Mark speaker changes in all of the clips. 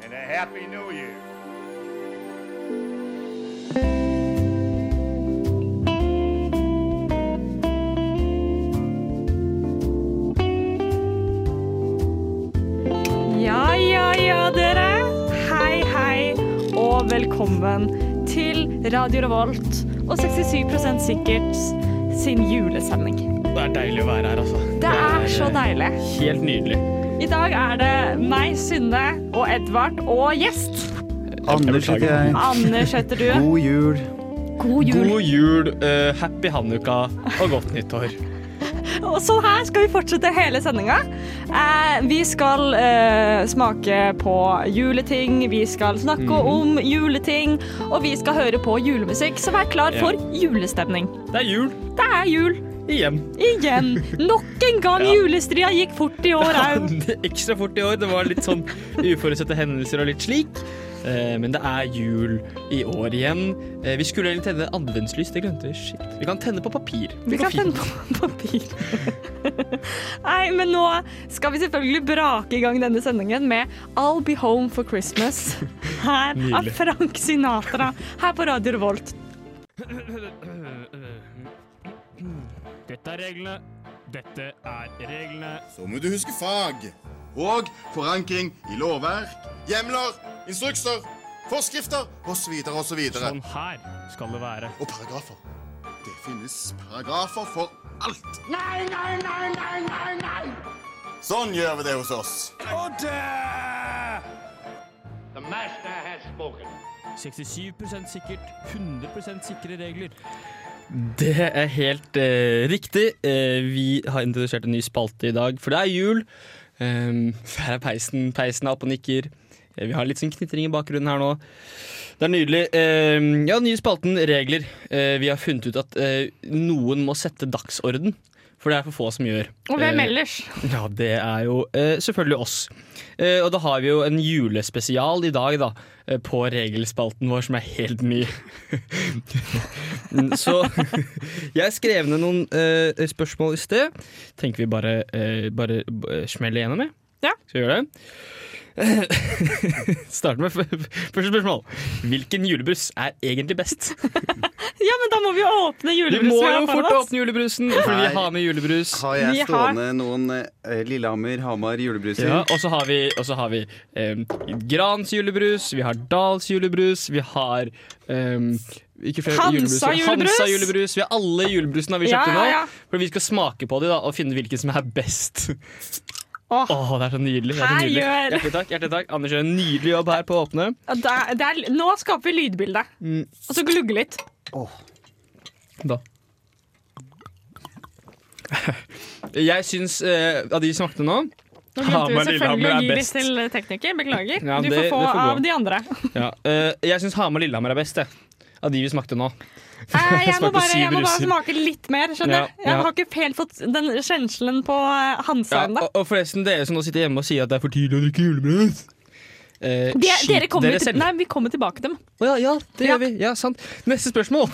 Speaker 1: and a Happy New Year.
Speaker 2: Ja, ja, ja, dere. Hei, hei, og velkommen til Radio Revolt og 67 sikkert sin julesending.
Speaker 3: Det er deilig å være her, altså.
Speaker 2: Det er så deilig.
Speaker 3: Helt nydelig.
Speaker 2: I dag er det meg, Synne og Edvard og gjest.
Speaker 4: Anders
Speaker 3: Jeg
Speaker 4: heter
Speaker 3: beklager.
Speaker 4: jeg.
Speaker 2: Anders heter du.
Speaker 4: God jul.
Speaker 2: God jul.
Speaker 3: God jul, eh, happy hanukka og godt nyttår.
Speaker 2: Og sånn her skal vi fortsette hele sendinga. Eh, vi skal eh, smake på juleting, vi skal snakke
Speaker 3: Mhm.
Speaker 2: om juleting, og vi skal høre på julemusikk, så vær klar
Speaker 3: Ja.
Speaker 2: for julestemning.
Speaker 3: Det er jul
Speaker 2: Det er jul
Speaker 3: igjen.
Speaker 2: igjen. Nok en gang
Speaker 3: Ja.
Speaker 2: julestria gikk fort i år òg.
Speaker 3: Ekstra fort i år. Det var litt sånn uforutsette hendelser og litt slik. Eh, Men det er jul i år igjen. Eh, Vi skulle egentlig tenne adventslys, det glemte vi. Shit. Vi kan tenne på papir.
Speaker 2: Vi kan
Speaker 3: Papir.
Speaker 2: tenne på papir. Nei, men nå skal vi selvfølgelig brake i gang denne sendingen med I'll Be Home for Christmas. Her av
Speaker 3: Nydelig.
Speaker 2: Frank Sinatra her på Radio Revolt.
Speaker 5: Dette er reglene. Dette er reglene.
Speaker 6: Så må du huske fag. Og forankring i lovverk, hjemler, instrukser, forskrifter osv. osv.
Speaker 5: Sånn her skal det være.
Speaker 6: Og paragrafer. Det finnes paragrafer for alt. Nei, nei, nei, nei, nei, nei! Sånn gjør vi det hos oss.
Speaker 5: 67 sikkert, 100 sikre regler.
Speaker 3: Det er helt eh, riktig. Eh, vi har introdusert en ny spalte i dag, for det er jul. Um, her er peisen. Peisen er oppe og nikker. Eh, vi har litt sånn knitring i bakgrunnen her nå. Det er nydelig. Um, ja, nye spalten regler. Eh, vi har funnet ut at eh, noen må sette dagsorden. For det er for få som gjør.
Speaker 2: Og hvem
Speaker 3: Eh,
Speaker 2: ellers?
Speaker 3: ja, det er jo eh, selvfølgelig oss. Eh, og da har vi jo en julespesial i dag, da. eh, På regelspalten vår, som er helt ny. Mm, Så jeg skrev ned noen eh, spørsmål i sted. Tenker vi bare, eh, bare eh, smelle gjennom, jeg.
Speaker 2: Ja.
Speaker 3: Skal vi gjøre det? Start med f- f- første spørsmål. Hvilken julebrus er egentlig best?
Speaker 2: Ja, men da må vi jo åpne
Speaker 3: Vi
Speaker 2: julebrusen.
Speaker 3: må
Speaker 2: vi har
Speaker 3: jo fort
Speaker 2: foran oss.
Speaker 3: åpne julebrusen, fordi vi
Speaker 4: Nei.
Speaker 3: har med julebrus.
Speaker 4: Har
Speaker 2: Vi
Speaker 4: jeg
Speaker 2: har-
Speaker 4: stående noen eh, Lillehammer, Hamar julebruser?
Speaker 3: Ja, og så har vi, og så har vi em, Grans julebrus, vi har Dals julebrus, vi har em, ikke flere
Speaker 2: Hansa
Speaker 3: julebruser.
Speaker 2: julebrus.
Speaker 3: Hansa julebrus. Vi har alle julebrusene har vi
Speaker 2: Ja,
Speaker 3: kjøpte
Speaker 2: ja, ja.
Speaker 3: nå. For vi skal smake på dem og finne hvilken som er best.
Speaker 2: Åh.
Speaker 3: Åh, det er så nydelig. Det er så
Speaker 2: Her
Speaker 3: nydelig.
Speaker 2: gjør-
Speaker 3: Hjertelig takk. hjertelig takk Anders gjør en nydelig jobb her på å åpne.
Speaker 2: Det er, det er, nå skaper vi lydbilde.
Speaker 3: Mm.
Speaker 2: Og så glugge litt.
Speaker 3: Da. Jeg syns eh, av de vi smakte nå
Speaker 2: Nå glemte
Speaker 3: Ja,
Speaker 2: vi
Speaker 3: men
Speaker 2: selvfølgelig
Speaker 3: Lillehammer
Speaker 2: å
Speaker 3: er
Speaker 2: gi litt
Speaker 3: best.
Speaker 2: til tekniker. Beklager.
Speaker 3: Ja,
Speaker 2: du
Speaker 3: det-
Speaker 2: får
Speaker 3: det
Speaker 2: få
Speaker 3: får gå.
Speaker 2: av de andre.
Speaker 3: ja, eh, Jeg syns Hamar og Lillehammer er best, jeg. Av de vi smakte nå.
Speaker 2: Eh, Jeg må
Speaker 3: Smakte
Speaker 2: bare, jeg
Speaker 3: syv
Speaker 2: må bare
Speaker 3: ruser.
Speaker 2: smake litt mer, skjønner
Speaker 3: Ja,
Speaker 2: jeg.
Speaker 3: ja.
Speaker 2: Jeg har ikke helt fått den kjenselen på eh, Hansa
Speaker 3: Ja,
Speaker 2: ennå.
Speaker 3: og, og forresten, dere som nå sitter hjemme og sier at det er for tidlig å drikke julebrus eh,
Speaker 2: De,
Speaker 3: skit
Speaker 2: dere kommer
Speaker 3: dere
Speaker 2: til,
Speaker 3: selv.
Speaker 2: nei, vi kommer tilbake til dem.
Speaker 3: Å ja, ja, det
Speaker 2: Ja.
Speaker 3: gjør vi. Ja, sant. Neste spørsmål.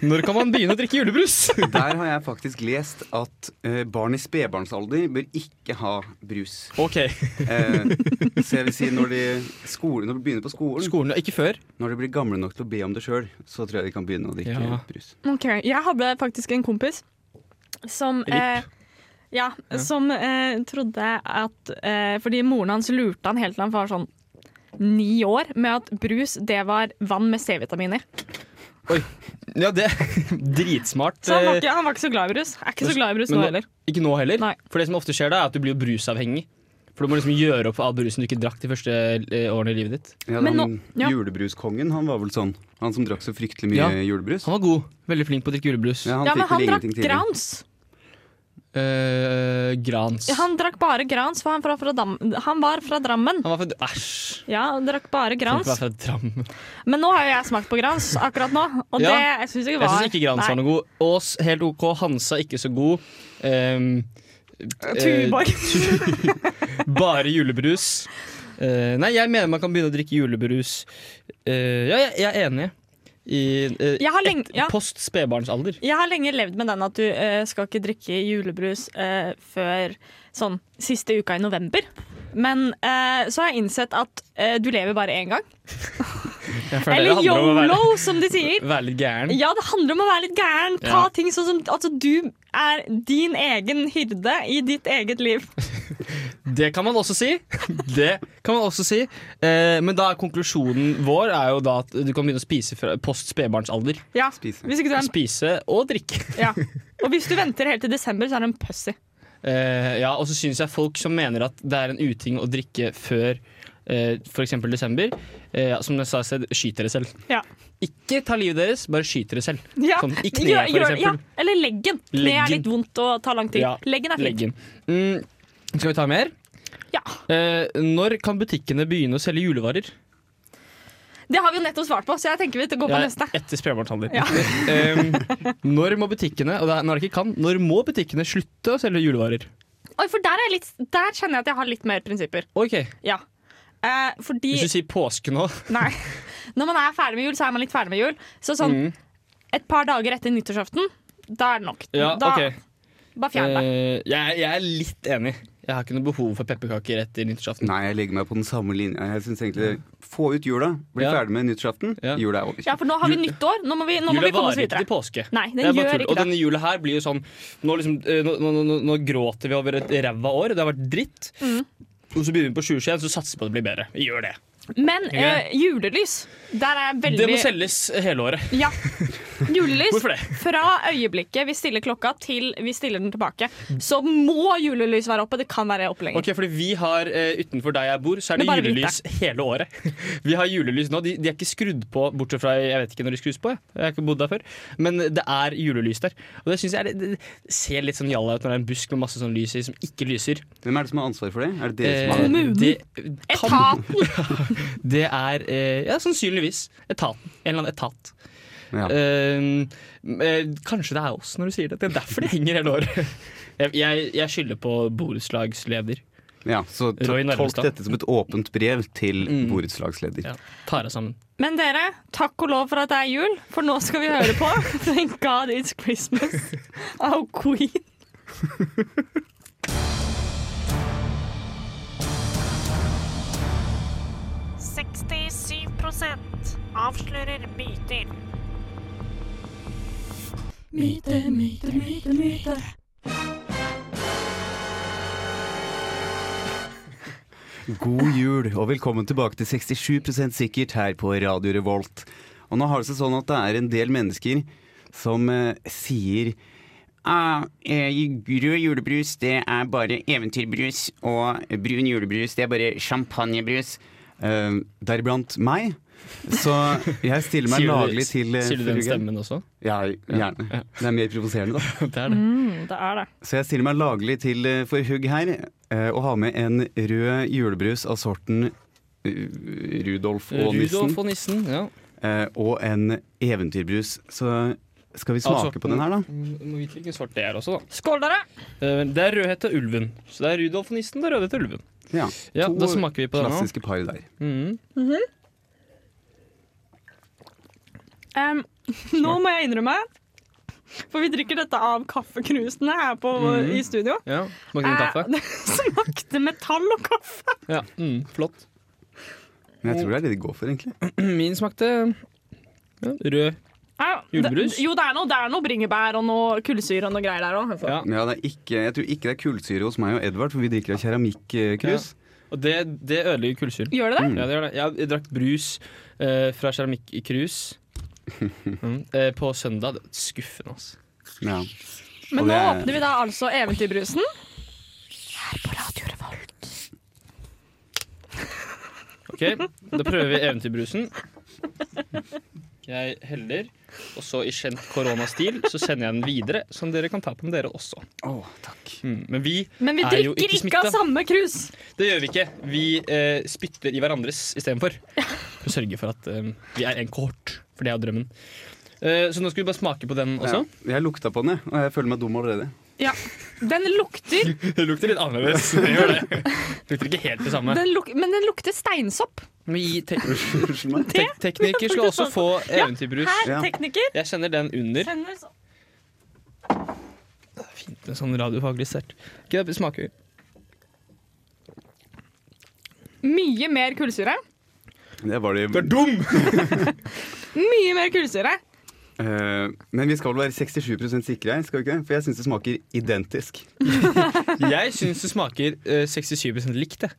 Speaker 3: Når kan man begynne å drikke julebrus?
Speaker 4: Der har jeg faktisk lest at eh, barn i spedbarnsalder bør ikke ha brus.
Speaker 3: OK.
Speaker 4: Eh, så jeg vil si når de, skole, når de begynner på skolen,
Speaker 3: Skolen, ikke før.
Speaker 4: når de blir gamle nok til å be om det sjøl, så tror jeg de kan begynne å drikke
Speaker 3: Ja.
Speaker 4: brus.
Speaker 2: Ok, Jeg hadde faktisk en kompis som
Speaker 3: Rip.
Speaker 2: eh, ja, som eh, trodde at eh, Fordi moren hans lurte han helt til han var sånn ni år med at brus det var vann med C-vitamin i.
Speaker 3: Ja, det Dritsmart.
Speaker 2: Så han Sånn var,
Speaker 3: eh,
Speaker 2: ikke, han var ikke så glad i brus. Er ikke så
Speaker 3: men-
Speaker 2: glad i brus
Speaker 3: men
Speaker 2: nå
Speaker 3: nå-
Speaker 2: heller.
Speaker 3: Ikke nå heller.
Speaker 2: Nei.
Speaker 3: For det som ofte skjer da, er at du blir jo brusavhengig. For du må liksom gjøre opp for all brusen du ikke drakk de første eh, årene i livet ditt.
Speaker 4: Ja,
Speaker 2: Men
Speaker 4: han,
Speaker 2: nå- ja.
Speaker 4: Julebruskongen, han var vel sånn. Han som drakk så fryktelig mye
Speaker 3: Ja.
Speaker 4: julebrus.
Speaker 3: Han var god. Veldig flink på å drikke julebrus.
Speaker 4: Ja, han
Speaker 2: Ja, men
Speaker 4: fikk vel
Speaker 2: han drakk
Speaker 4: ingenting tidlig.
Speaker 2: Grans.
Speaker 3: Eh, grans.
Speaker 2: Han drakk bare Grans, for han, fra, fra Dam han var fra Drammen.
Speaker 3: Han var fra Æsj.
Speaker 2: Ja, han drakk bare
Speaker 3: Han var
Speaker 2: Grans.
Speaker 3: fra Drammen.
Speaker 2: Men nå har jo jeg smakt på Grans akkurat nå, og
Speaker 3: Ja.
Speaker 2: det jeg syns ikke
Speaker 3: Jeg
Speaker 2: var
Speaker 3: syns ikke Grans var
Speaker 2: Nei.
Speaker 3: noe god. Aas helt OK. Hansa ikke så god. Ehm, eh,
Speaker 2: Tuborg.
Speaker 3: tu- bare julebrus. Eh, nei, jeg mener man kan begynne å drikke julebrus. Eh, ja, jeg, jeg er enig. I eh,
Speaker 2: Jeg har lenge, ja.
Speaker 3: post spedbarnsalder.
Speaker 2: Jeg har lenge levd med den at du eh, skal ikke drikke julebrus eh, før sånn siste uka i november. Men eh, så har jeg innsett at eh, du lever bare én gang.
Speaker 3: Jeg føler det
Speaker 2: Eller
Speaker 3: handler om å være,
Speaker 2: yolo, som de sier.
Speaker 3: være litt gæren.
Speaker 2: Ja, det handler om å være litt gæren. Ta
Speaker 3: Ja.
Speaker 2: ting sånn som Altså, du er din egen hyrde i ditt eget liv.
Speaker 3: Det kan man også si. Det kan man også si. Eh, men da er konklusjonen vår er jo da at du kan begynne å spise fra post spedbarnsalder.
Speaker 2: Ja.
Speaker 4: Spise.
Speaker 2: Hvis ikke du er en
Speaker 3: Spise og drikke.
Speaker 2: ja. Og hvis du venter helt til desember, så er du en pussy.
Speaker 3: Eh, ja, og så syns jeg folk som mener at det er en uting å drikke før eh, for f.eks. desember, eh, som jeg sa i sted, skyt dere selv.
Speaker 2: Ja.
Speaker 3: Ikke ta livet deres, bare skyt dere selv.
Speaker 2: Ja.
Speaker 3: Sånn, I
Speaker 2: Gjør-
Speaker 3: kneet, for
Speaker 2: gjør- ja.
Speaker 3: eksempel.
Speaker 2: Eller leggen. Kne
Speaker 3: Leggen.
Speaker 2: er litt vondt og tar lang tid.
Speaker 3: Ja,
Speaker 2: Leggen er flink.
Speaker 3: Leggen. Mm, skal vi ta mer?
Speaker 2: Ja.
Speaker 3: Eh, når kan butikkene begynne å selge julevarer?
Speaker 2: Det har vi jo nettopp svart på, så jeg tenker vi går på
Speaker 3: Ja,
Speaker 2: neste.
Speaker 3: etter spedbarnsalder.
Speaker 2: Ja.
Speaker 3: Em, når må butikkene og det er, når det ikke kan, når må butikkene slutte å selge julevarer?
Speaker 2: Oi, for der, er jeg litt, der kjenner jeg at jeg har litt mer prinsipper.
Speaker 3: Ok,
Speaker 2: Ja. Eh, fordi
Speaker 3: Hvis du sier påske nå
Speaker 2: Nei. Når man er ferdig med jul, så er man litt ferdig med jul. Så sånn
Speaker 3: Mm.
Speaker 2: et par dager etter nyttårsaften, da er det nok.
Speaker 3: Ja,
Speaker 2: da,
Speaker 3: ok.
Speaker 2: Bare fjern deg.
Speaker 3: Eh, jeg, jeg er litt enig. Jeg har ikke noe behov for pepperkaker etter nyttårsaften.
Speaker 4: Nei, jeg legger meg på den samme linja. Jeg synes egentlig Få ut jula, bli
Speaker 3: Ja.
Speaker 4: ferdig med nyttårsaften.
Speaker 3: Ja.
Speaker 4: Jula er over.
Speaker 2: Ja, for nå har vi nyttår. Nå må vi, nå må
Speaker 3: Jula
Speaker 2: vi komme oss
Speaker 3: varer ikke
Speaker 2: videre.
Speaker 3: til påske.
Speaker 2: Nei, den
Speaker 3: Det er bare
Speaker 2: gjør
Speaker 3: tull.
Speaker 2: ikke
Speaker 3: og
Speaker 2: det.
Speaker 3: denne jula her blir jo sånn Nå, liksom, eh, nå, nå, nå, nå gråter vi over et ræva år, det har vært dritt.
Speaker 2: Mm.
Speaker 3: Og så begynner vi på 2021, så satser vi på at det blir bedre. Vi gjør det.
Speaker 2: Men eh, julelys, der er jeg veldig
Speaker 3: Det må selges hele året.
Speaker 2: Ja. Julelys
Speaker 3: Hvorfor det?
Speaker 2: fra øyeblikket vi stiller klokka til vi stiller den tilbake. Så må julelys være oppe. Det kan være oppe lenger.
Speaker 3: Ok, fordi vi har eh, Utenfor der jeg bor, så er
Speaker 2: Men
Speaker 3: det
Speaker 2: bare
Speaker 3: julelys hele året. Vi har julelys nå. De, de er ikke skrudd på, bortsett fra Jeg vet ikke når de skrus på. Jeg, jeg har ikke bodd der før. Men det er julelys der. Og det synes jeg er, det, det ser litt sånn jalla ut når det er en busk med masse sånn lys i som ikke lyser.
Speaker 4: Hvem er det som har ansvar for det? Er det dere som har
Speaker 3: Eh,
Speaker 4: det?
Speaker 2: Kommunen.
Speaker 3: Det, kan,
Speaker 2: Etaten!
Speaker 3: det er eh, ja, sannsynligvis etaten. En eller annen etat.
Speaker 4: Ja.
Speaker 3: Eh, eh, kanskje det er oss når du sier det. Det er derfor det henger hele året. Jeg, jeg, jeg skylder på borettslagsleder.
Speaker 4: Ja, så to-
Speaker 3: Roy
Speaker 4: tolk
Speaker 3: Narvestad.
Speaker 4: dette som et åpent brev til borettslagsleder.
Speaker 3: Ja, tar deg sammen.
Speaker 2: Men dere, takk og lov for at det er jul, for nå skal vi høre på Thank God It's Christmas av Queen.
Speaker 1: avslører myter.
Speaker 4: God jul, og velkommen tilbake til 67 sikkert her på Radio Revolt. Og nå har det seg sånn at det er en del mennesker som eh, sier Ah, eh, rød julebrus, det er bare eventyrbrus. Og brun julebrus, det er bare champagnebrus. Eh, deriblant meg. Så jeg stiller meg
Speaker 3: Sier du-
Speaker 4: laglig til eh,
Speaker 3: Sier du den
Speaker 4: frugen.
Speaker 3: stemmen også?
Speaker 4: Ja, gjerne. Det er mer provoserende, da.
Speaker 3: Det er det.
Speaker 2: Mm, det er det.
Speaker 4: Så jeg stiller meg laglig til eh, for hugg her, eh, og har med en rød julebrus av sorten eh, Rudolf og Nissen.
Speaker 3: Eh, Rudolf og nissen. Ja.
Speaker 4: eh, Og en eventyrbrus. Så skal vi
Speaker 3: Av
Speaker 4: smake
Speaker 3: sorten-
Speaker 4: på den her, da?
Speaker 3: Du Mm, må vite hvilken svart det er også, da.
Speaker 2: Skål, dere!
Speaker 3: Eh, Det er rødhet til ulven. Så det er Rudolf og nissen, det er rødhet til ulven.
Speaker 4: Ja,
Speaker 3: Ja,
Speaker 4: To
Speaker 3: da smaker vi på den nå.
Speaker 4: Klassiske par der.
Speaker 3: Mhm.
Speaker 2: Em, nå må jeg innrømme, for vi drikker dette av kaffekrusene her på, i studio.
Speaker 3: Ja. Smaker den kaffe?
Speaker 2: Eh, det smakte metall og kaffe.
Speaker 3: Ja. Mm, flott.
Speaker 4: Men jeg tror det er det de går for, egentlig.
Speaker 3: Min smakte ja, rød.
Speaker 2: Ja, Eh,
Speaker 3: Julebrus?
Speaker 2: Det, jo, det er noe, det er noe bringebær og noe kullsyre og noe greier der òg.
Speaker 3: Ja.
Speaker 4: Men ja, det er ikke, jeg tror ikke det er kullsyre hos meg og Edvard, for vi drikker av keramikkrus.
Speaker 3: Og det, det ødelegger kullsyren.
Speaker 2: Gjør det det?
Speaker 3: Ja, det gjør det. Jeg, jeg drakk brus eh, fra keramikkrus mm, eh, på søndag. Det er Skuffende, altså.
Speaker 4: Ja.
Speaker 2: Men
Speaker 4: Mm. Og
Speaker 2: nå
Speaker 4: det er-
Speaker 2: åpner vi da altså eventyrbrusen.
Speaker 3: Ok, Da prøver vi eventyrbrusen. Jeg heller, og så i kjent koronastil så sender jeg den videre, som dere kan ta på med dere også.
Speaker 4: Å, takk.
Speaker 3: Mm, men vi,
Speaker 2: Men vi
Speaker 3: er jo
Speaker 2: drikker ikke, altså.
Speaker 3: smittet.
Speaker 2: av samme krus.
Speaker 3: Det gjør vi ikke. Vi eh, spytter i hverandres istedenfor. For å sørge for at eh, vi er en kohort, for det er jo drømmen. Eh, så nå skal vi bare smake på den
Speaker 4: Ja.
Speaker 3: også.
Speaker 4: Jeg lukta på den, jeg, og jeg føler meg dum allerede.
Speaker 2: Ja. Den lukter,
Speaker 3: Det lukter litt annerledes. Det gjør det. Det lukter ikke helt det samme.
Speaker 2: den luk, men den lukter steinsopp.
Speaker 3: Vi te
Speaker 4: Unnskyld meg.
Speaker 3: te tekniker skal også få eventyrbrus.
Speaker 2: Her,
Speaker 4: Ja.
Speaker 2: tekniker.
Speaker 3: Jeg sender den under.
Speaker 2: Tenner så-
Speaker 3: Fint med sånn radiofaglig sert. Ok, det smaker
Speaker 7: Mye mer kullsyre.
Speaker 4: Det var det.
Speaker 3: Du er dum!
Speaker 7: Mye mer kullsyre.
Speaker 4: Eh, men vi skal vel være 67 sikre, her, skal vi ikke det? For jeg syns det smaker identisk.
Speaker 3: Jeg syns det smaker eh, 67 likt. Jeg.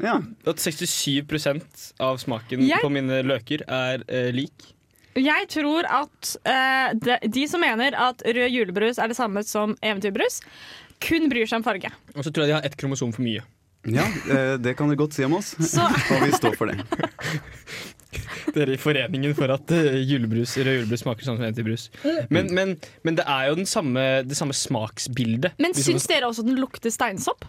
Speaker 4: Ja,
Speaker 3: At 67 av smaken
Speaker 7: Jeg-
Speaker 3: på mine løker er eh, lik.
Speaker 2: Jeg tror at eh, de, de som mener at rød julebrus er det samme som eventyrbrus, kun bryr seg om farge.
Speaker 3: Og så tror jeg de har ett kromosom for mye.
Speaker 4: ja eh, det kan du godt si om oss.
Speaker 2: Så
Speaker 4: Og vi står for det.
Speaker 3: Dere i foreningen for at eh, julebrus, rød julebrus smaker sånn som eventyrbrus.
Speaker 2: Mm.
Speaker 3: Men, men, men det er jo den samme, det samme smaksbildet.
Speaker 2: Men
Speaker 3: Hvis man-
Speaker 2: syns dere også den lukter steinsopp?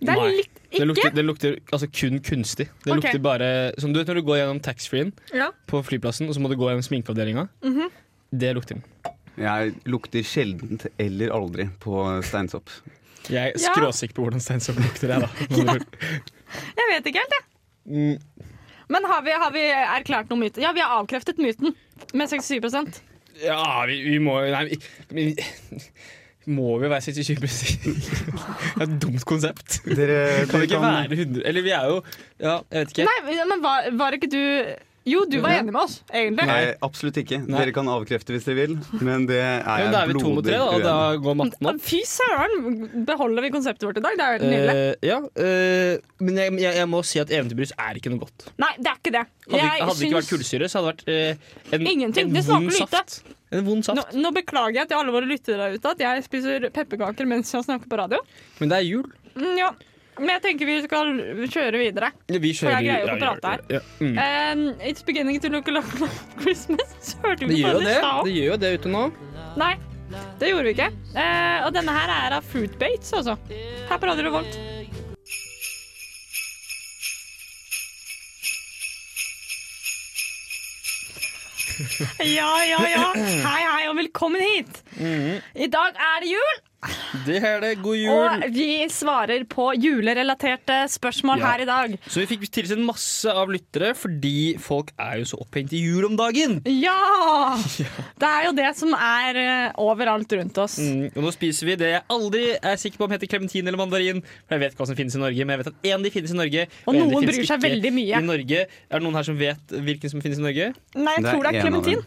Speaker 2: Det er
Speaker 3: Nei.
Speaker 2: litt
Speaker 3: Den
Speaker 2: ikke?
Speaker 3: lukter, den lukter altså kun kunstig. Den
Speaker 2: Ok.
Speaker 3: lukter bare Som du vet når du går gjennom taxfree-en
Speaker 2: Ja.
Speaker 3: på flyplassen, og så må du gå gjennom sminkeavdelinga.
Speaker 2: Mhm.
Speaker 3: Det lukter den.
Speaker 4: Jeg lukter sjelden eller aldri på steinsopp.
Speaker 3: Jeg er
Speaker 2: Ja.
Speaker 3: skråsikker på hvordan steinsopp lukter, jeg, da. med andre ord.
Speaker 2: Jeg vet ikke helt, jeg.
Speaker 3: Mm,
Speaker 2: Men har vi, har vi erklært noen myte? Ja, vi har avkreftet myten med 67
Speaker 3: Ja, vi, vi må jo Nei, vi, vi- må vi være 67 sikre? Det er et dumt konsept.
Speaker 4: Dere
Speaker 3: Kan vi
Speaker 4: dere
Speaker 3: ikke være 100 Eller vi er jo Ja, jeg vet ikke.
Speaker 2: Nei, men var, var ikke du Jo, du var enig med oss, egentlig.
Speaker 4: Nei, absolutt ikke.
Speaker 3: Nei.
Speaker 4: Dere kan avkrefte hvis dere vil, men det er
Speaker 3: Ja,
Speaker 4: jeg
Speaker 3: men da er vi to mot tre, da, og
Speaker 4: blodig uenig i.
Speaker 3: da går matten opp.
Speaker 2: Fy søren! Beholder vi konseptet vårt i dag? Det er jo helt nydelig.
Speaker 3: Eh, ja, eh, men jeg, jeg, jeg må si at eventyrbrus er ikke noe godt.
Speaker 2: Nei, det er ikke det.
Speaker 3: Hadde, ikke-
Speaker 2: Jeg
Speaker 3: hadde det ikke vært
Speaker 2: syns-
Speaker 3: kullsyre, så hadde det vært eh, en,
Speaker 2: Ingenting.
Speaker 3: en
Speaker 2: Det smaker
Speaker 3: vond
Speaker 2: lite.
Speaker 3: saft. En vond saft.
Speaker 2: nå, nå beklager jeg til alle våre lyttere der ute at jeg spiser pepperkaker mens jeg snakker på radio.
Speaker 3: Men det er jul.
Speaker 2: Mm, ja. Men jeg tenker vi skal kjøre videre.
Speaker 3: Vi
Speaker 2: kjører- jeg greier jo ikke å ja, prate
Speaker 3: her. Mm.
Speaker 2: Um, it's beginning to look a lot like Christmas. Så hørte
Speaker 3: Det
Speaker 2: vi på
Speaker 3: gjør jo det.
Speaker 2: sa.
Speaker 3: Det gjør jo det ute nå.
Speaker 2: Nei, det gjorde vi ikke. Eh, og denne her er av Fruit Bates, altså. Her på Radio Revolt. Ja, ja, ja. Hei, hei, og velkommen hit.
Speaker 4: Mhm.
Speaker 2: I dag er det jul,
Speaker 3: Det her er det. God
Speaker 2: og
Speaker 3: jul.
Speaker 2: vi svarer på julerelaterte spørsmål
Speaker 3: Ja.
Speaker 2: her i dag.
Speaker 3: Så vi fikk tilsendt masse av lyttere fordi folk er jo så opphengt i jul om dagen.
Speaker 2: Ja! Det er jo det som er eh, overalt rundt oss.
Speaker 3: Mm, og nå spiser vi det jeg aldri er sikker på om heter klementin eller mandarin. For jeg vet ikke hva som finnes i Norge, men jeg vet at én de finnes i Norge.
Speaker 2: Og
Speaker 3: en de
Speaker 2: noen
Speaker 3: finnes
Speaker 2: bryr seg
Speaker 3: ikke
Speaker 2: veldig mye.
Speaker 3: I Norge. Er det noen her som vet hvilken som finnes i Norge?
Speaker 2: Nei, jeg
Speaker 4: Det er
Speaker 2: tror det
Speaker 4: en
Speaker 2: er
Speaker 4: av dem.
Speaker 2: klementin.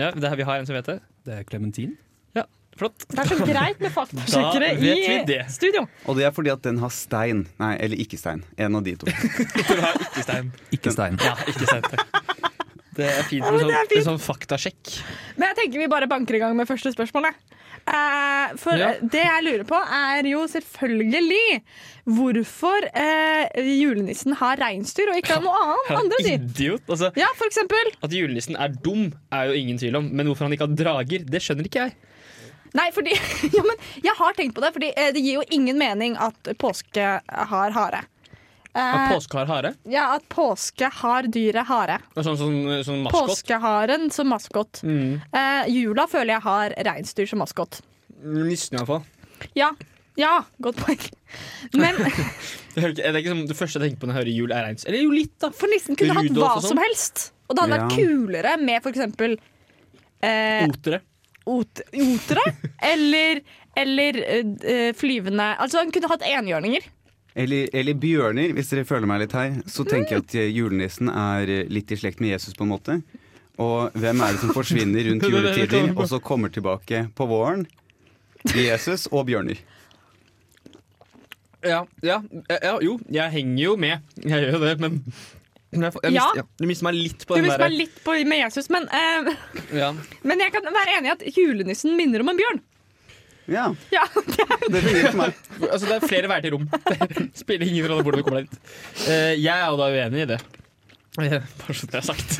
Speaker 3: Ja, det her vi har en som vet det.
Speaker 5: Det er klementin.
Speaker 3: Ja, flott.
Speaker 2: Det er så greit med faktasjekkere
Speaker 3: Da vet vi
Speaker 2: i
Speaker 3: det.
Speaker 2: studio.
Speaker 4: Og det er fordi at den har stein. Nei, eller ikke stein. En av de to.
Speaker 3: Den har ikke stein.
Speaker 5: Ikke stein.
Speaker 3: Ja, ikke stein, takk. Det er fint med
Speaker 2: men det
Speaker 3: sånn,
Speaker 2: er fint.
Speaker 3: med sånn faktasjekk.
Speaker 2: Men jeg tenker vi bare banker i gang med første spørsmål. jeg. Eh, for
Speaker 3: Ja.
Speaker 2: eh, det jeg lurer på, er jo selvfølgelig hvorfor eh, julenissen har reinsdyr og ikke har noe annet andre dyr.
Speaker 3: Idiot. Altså,
Speaker 2: Ja, for eksempel.
Speaker 3: At julenissen er dum, er jo ingen tvil om. Men hvorfor han ikke har drager, det skjønner ikke jeg.
Speaker 2: Nei, fordi ja, men Jeg har tenkt på det, fordi eh, det gir jo ingen mening at påske har hare.
Speaker 3: At
Speaker 2: Eh,
Speaker 3: påske har hare?
Speaker 2: ja, at påske har dyret hare.
Speaker 3: Det er Sånn, sånn, sånn maskot?
Speaker 2: Påskeharen som maskot.
Speaker 3: Mm.
Speaker 2: Eh, jula føler jeg har reinsdyr som maskot.
Speaker 3: Nissen, iallfall.
Speaker 2: Ja. Ja, godt poeng. Men
Speaker 3: Det er ikke, det er ikke som det første jeg tenker på når jeg hører jul, er reins. Eller jo litt, da.
Speaker 2: for nissen kunne hatt
Speaker 3: Rudolf
Speaker 2: hva
Speaker 3: og sånn.
Speaker 2: som helst. Og det hadde vært
Speaker 4: Ja.
Speaker 2: kulere med f.eks. Eh,
Speaker 3: Otere.
Speaker 2: ot otere eller, eller eh, flyvende Altså, han kunne hatt enhjørninger.
Speaker 4: Eller, eller bjørner, hvis dere føler meg litt her. Så tenker jeg at eh, julenissen er eh, litt i slekt med Jesus, på en måte. Og hvem er det som forsvinner rundt juletider, og så kommer tilbake på våren? Jesus og bjørner.
Speaker 3: Ja, ja, ja, jo, jeg henger jo med. Jeg gjør jo det, men men jeg, får- jeg
Speaker 2: Ja.
Speaker 3: mister, ja. Du mister meg litt
Speaker 2: Du
Speaker 3: på den
Speaker 2: mister
Speaker 3: derre
Speaker 2: meg litt på, med Jesus, men, eh,
Speaker 3: ja.
Speaker 2: men jeg kan være enig i at julenissen minner om en bjørn.
Speaker 4: Ja,
Speaker 2: Ja,
Speaker 4: det fungerer for meg.
Speaker 3: Altså, det er flere veier til rom. Det spiller ingen rolle hvordan du kommer deg dit. Eh, jeg er jo da uenig i det. Eh, Bare så det er sagt.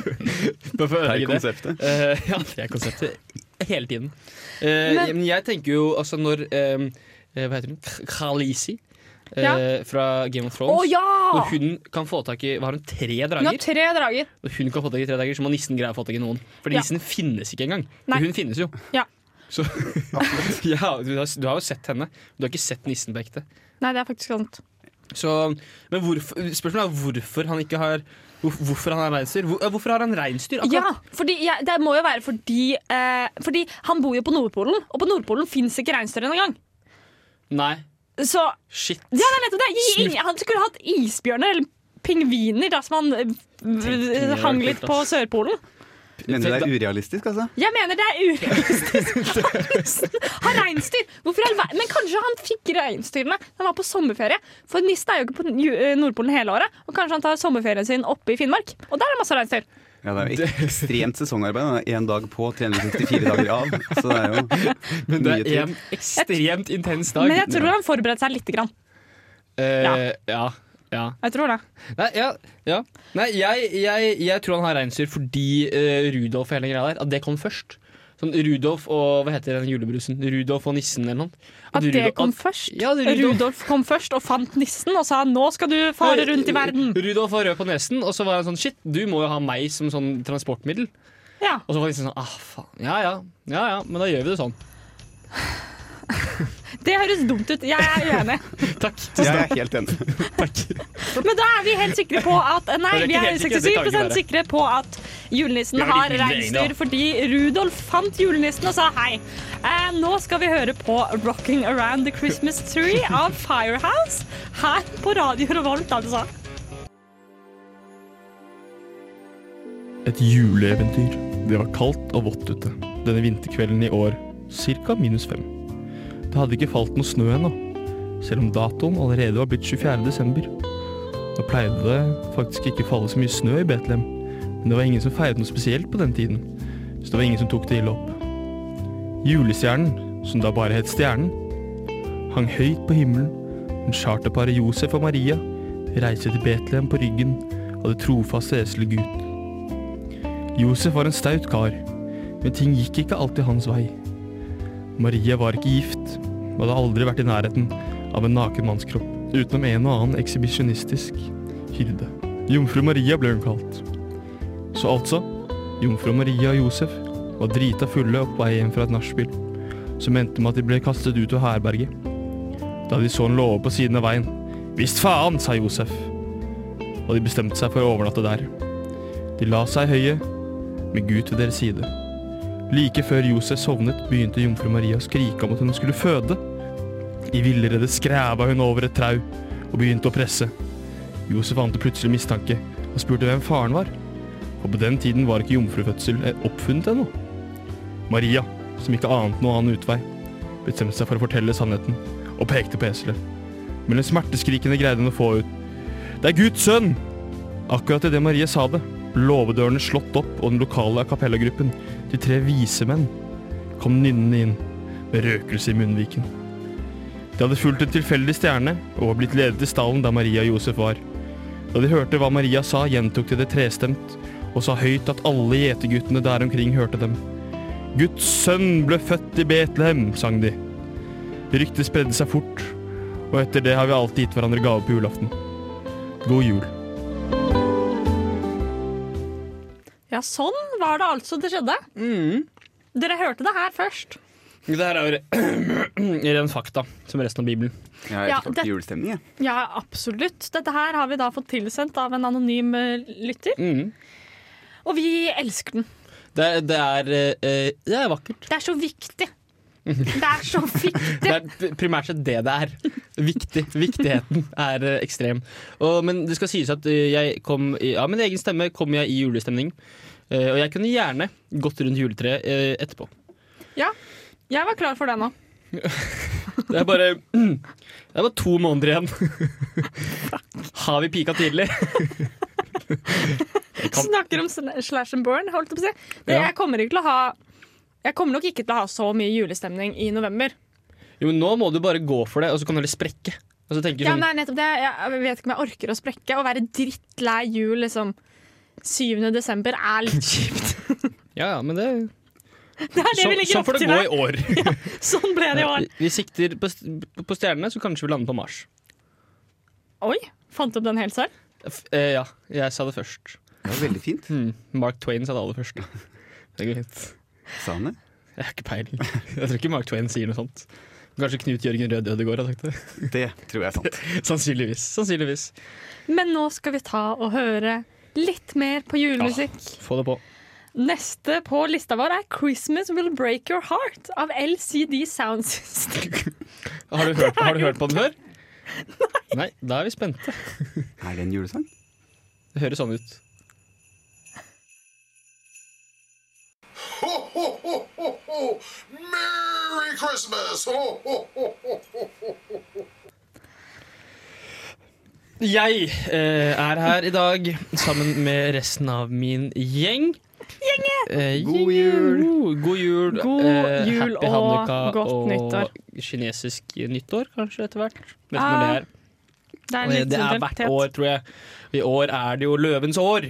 Speaker 3: Bare for å
Speaker 4: Det er
Speaker 3: ødelegge det.
Speaker 4: konseptet.
Speaker 3: Eh, ja, det er konseptet. Hele tiden. Eh,
Speaker 2: Men-
Speaker 3: men jeg tenker jo altså når eh, eh, Hva heter hun? K- Khaleesi eh,
Speaker 2: Ja.
Speaker 3: fra Game
Speaker 2: Å
Speaker 3: of Thrones.
Speaker 2: ja!
Speaker 3: Når hun kan få tak i Var hun tre
Speaker 2: Hun har
Speaker 3: drager?
Speaker 2: tre drager.
Speaker 3: Når hun kan få tak i tre drager, så må nissen greie å få tak i noen. For
Speaker 2: Ja.
Speaker 3: nissen finnes ikke engang.
Speaker 2: Nei.
Speaker 3: Men Hun finnes jo.
Speaker 2: Ja.
Speaker 3: Så, ja, du, har, du har jo sett henne. Du har ikke sett nissen på ekte.
Speaker 2: Nei, det er faktisk sant.
Speaker 3: Så, men hvorfor, spørsmålet er hvorfor han ikke har hvor, Hvorfor han har reinsdyr? Hvor, ja, hvorfor har han reinsdyr? akkurat?
Speaker 2: Ja, fordi jeg, det må jo være fordi eh, Fordi han bor jo på Nordpolen, og på Nordpolen fins ikke reinsdyr engang.
Speaker 3: Nei,
Speaker 2: Så
Speaker 3: Shit.
Speaker 2: Ja, det er nettopp det. Gi ing- Han skulle hatt isbjørner eller pingviner da, som han eh,
Speaker 3: pingviner
Speaker 2: hang
Speaker 3: var
Speaker 2: litt
Speaker 3: kult,
Speaker 2: på
Speaker 3: ass.
Speaker 2: Sørpolen.
Speaker 4: Mener du det er urealistisk, altså?
Speaker 2: Jeg mener det er urealistisk. Ha reinsdyr! Hvorfor i all verden? Men kanskje han fikk reinsdyrene da han var på sommerferie. For Nista er jo ikke på Ju- eh, Nordpolen hele året. Og kanskje han tar sommerferien sin oppe i Finnmark. Og der er det masse reinsdyr.
Speaker 4: Ja, det er jo ek- ekstremt sesongarbeid. Én dag på, 364 dager av. Så det er jo
Speaker 3: Men det
Speaker 4: mye
Speaker 3: er
Speaker 4: tid.
Speaker 3: en ekstremt intens dag.
Speaker 2: Men jeg tror han forberedte seg lite grann.
Speaker 3: Eh, ja. ja.
Speaker 2: Jeg tror det.
Speaker 3: Nei, ja, ja. Nei jeg, jeg, jeg tror han har reinsdyr fordi eh, Rudolf og hele greia der, at det kom først. Sånn Rudolf og hva heter den julebrusen? Rudolf og nissen eller noe.
Speaker 2: At det
Speaker 3: Rudolf-
Speaker 2: kom
Speaker 3: at-
Speaker 2: først.
Speaker 3: Ja, det er Rudolf.
Speaker 2: Rudolf kom først og fant nissen og sa 'nå skal du fare rundt i verden'.
Speaker 3: Rudolf var rød på nesen, og så var han sånn shit, du må jo ha meg som sånn transportmiddel.
Speaker 2: Ja.
Speaker 3: Og så var han liksom sånn ah, faen. Ja ja, ja ja, men da gjør vi det sånn.
Speaker 2: Det høres dumt ut. Jeg er uenig.
Speaker 3: Takk.
Speaker 4: Jeg er helt enig.
Speaker 2: Men da er vi helt sikre på at Nei,
Speaker 3: Det er
Speaker 2: vi
Speaker 3: ikke
Speaker 2: er
Speaker 3: helt sikre, det kan ikke
Speaker 2: 67
Speaker 3: være.
Speaker 2: sikre på at julenissen
Speaker 3: Vi har
Speaker 2: har
Speaker 3: litt mindre eng, da.
Speaker 2: reinsdyr fordi Rudolf fant julenissen og sa hei. Eh, nå skal vi høre på 'Rocking Around the Christmas Tree' av Firehouse her på Radio Revolt, altså.
Speaker 5: Et juleeventyr. Det var kaldt og vått ute denne vinterkvelden i år, ca. minus fem. Det hadde ikke falt noe snø ennå, selv om datoen allerede var blitt 24. desember. Nå pleide det faktisk ikke falle så mye snø i Betlehem, men det var ingen som feiret noe spesielt på den tiden, så det var ingen som tok det ille opp. Julestjernen, som da bare het Stjernen, hang høyt på himmelen, men charterparet Josef og Maria reiste til Betlehem på ryggen av det trofaste eselet Gud. Josef var en staut kar, men ting gikk ikke alltid hans vei. Maria var ikke gift og hadde aldri vært i nærheten av en naken mannskropp, utenom en og annen ekshibisjonistisk hyrde. Jomfru Maria ble hun kalt. Så altså, jomfru Maria og Josef var drita fulle på vei hjem fra et nachspiel, som endte med at de ble kastet ut av herberget. Da de så en låve på siden av veien, visst faen, sa Josef, og de bestemte seg for å overnatte der. De la seg i høyet, med Gud ved deres side. Like før Josef sovnet, begynte jomfru Maria å skrike om at hun skulle føde. I villrede skræva hun over et trau og begynte å presse. Josef ante plutselig mistanke og spurte hvem faren var. For på den tiden var ikke jomfrufødsel eh, oppfunnet ennå. Maria, som ikke ante noen annen utvei, bestemte seg for å fortelle sannheten og pekte på eselet. Men den smerteskrikende greide hun å få ut. Det er Guds sønn! Akkurat idet Maria sa det, ble låvedørene slått opp, og den lokale a cappella-gruppen, de tre vise menn, kom nynnende inn med røkelse i munnviken. De hadde fulgt en tilfeldig stjerne og var blitt ledet til stallen der Maria og Josef var. Da de hørte hva Maria sa, gjentok de det trestemt og sa høyt at alle gjeterguttene der omkring hørte dem. Guds sønn ble født i Betlehem, sang de. Ryktet spredde seg fort, og etter det har vi alltid gitt hverandre gave på julaften. God jul.
Speaker 2: Ja, sånn var det altså det skjedde. Mm. Dere hørte det her først.
Speaker 3: Det her er jo ren fakta, som resten av Bibelen.
Speaker 4: Jeg er
Speaker 2: Ja,
Speaker 4: ikke
Speaker 2: det-
Speaker 4: til julestemning, jeg.
Speaker 2: Ja, absolutt. Dette her har vi da fått tilsendt av en anonym eh, lytter,
Speaker 3: Mm.
Speaker 2: og vi elsker den.
Speaker 3: Det, er- det, er, eh, det er vakkert.
Speaker 2: Det er så viktig. Det er så viktig.
Speaker 3: Det er p- primært sett det det er. Viktig. Viktigheten er eh, ekstrem. Og, men det skal sies at eh, jeg kom i, av min egen stemme kom jeg i julestemning. Eh, og jeg kunne gjerne gått rundt juletreet eh, etterpå.
Speaker 2: Jeg var klar for det nå.
Speaker 3: Det er bare Det er bare to måneder igjen. Har vi pika tidlig? Jeg kan-
Speaker 2: Snakker om sl- slash and burn, holdt jeg på å si. Det,
Speaker 3: Ja.
Speaker 2: jeg, kommer ikke til å ha, jeg kommer nok ikke til å ha så mye julestemning i november.
Speaker 3: Jo, men nå må du bare gå for det, og så kan du heller sprekke. Og så tenker du
Speaker 2: Ja,
Speaker 3: sånn,
Speaker 2: men det er nettopp det. Jeg vet ikke om jeg orker å sprekke. Å være drittlei jul liksom 7. desember er litt kjipt.
Speaker 3: ja, ja, men det,
Speaker 2: Det er det
Speaker 3: så,
Speaker 2: vi legger
Speaker 3: Sånn
Speaker 2: opp
Speaker 3: får
Speaker 2: til
Speaker 3: det gå
Speaker 2: her.
Speaker 3: i år.
Speaker 2: Sånn ble det i år.
Speaker 3: Vi sikter på, st- på stjernene, så kanskje vi lander på Mars.
Speaker 2: Oi, fant du opp den helt selv?
Speaker 3: F eh, ja, jeg sa det først.
Speaker 4: Det var veldig fint.
Speaker 3: Hmm. Mark Twain sa det aller først. Det går fint.
Speaker 4: Sa han det?
Speaker 3: Jeg har ikke peiling. Jeg tror ikke Mark Twain sier noe sånt. Kanskje Knut Jørgen Rød Ødegård har sagt det.
Speaker 4: Det tror jeg er sant.
Speaker 3: Sannsynligvis. Sannsynligvis.
Speaker 2: Men nå skal vi ta og høre litt mer på julemusikk.
Speaker 3: Få det på.
Speaker 2: Neste på lista vår er 'Christmas Will Break Your Heart' av LCD Sound System.
Speaker 3: Har du hørt, har du hørt på den før? Nei, da er vi spente.
Speaker 4: Er det en julesang?
Speaker 3: Det høres sånn ut.
Speaker 6: Ho, ho, ho, ho, ho. Merry Christmas! Ho, ho, ho, ho, ho.
Speaker 3: Jeg eh, er her i dag sammen med resten av min gjeng. Eh,
Speaker 4: God
Speaker 3: gjeng.
Speaker 4: jul.
Speaker 3: God jul,
Speaker 2: God
Speaker 3: eh,
Speaker 2: jul
Speaker 3: happy
Speaker 2: og
Speaker 3: Hanukka
Speaker 2: godt nyttår. Ah.
Speaker 3: Og kinesisk nyttår, kanskje, etter hvert. Vet ikke når det er.
Speaker 2: Det er, en
Speaker 3: Eh,
Speaker 2: liten
Speaker 3: Det er hvert
Speaker 2: identitet.
Speaker 3: år, tror jeg. I år er det jo løvens år.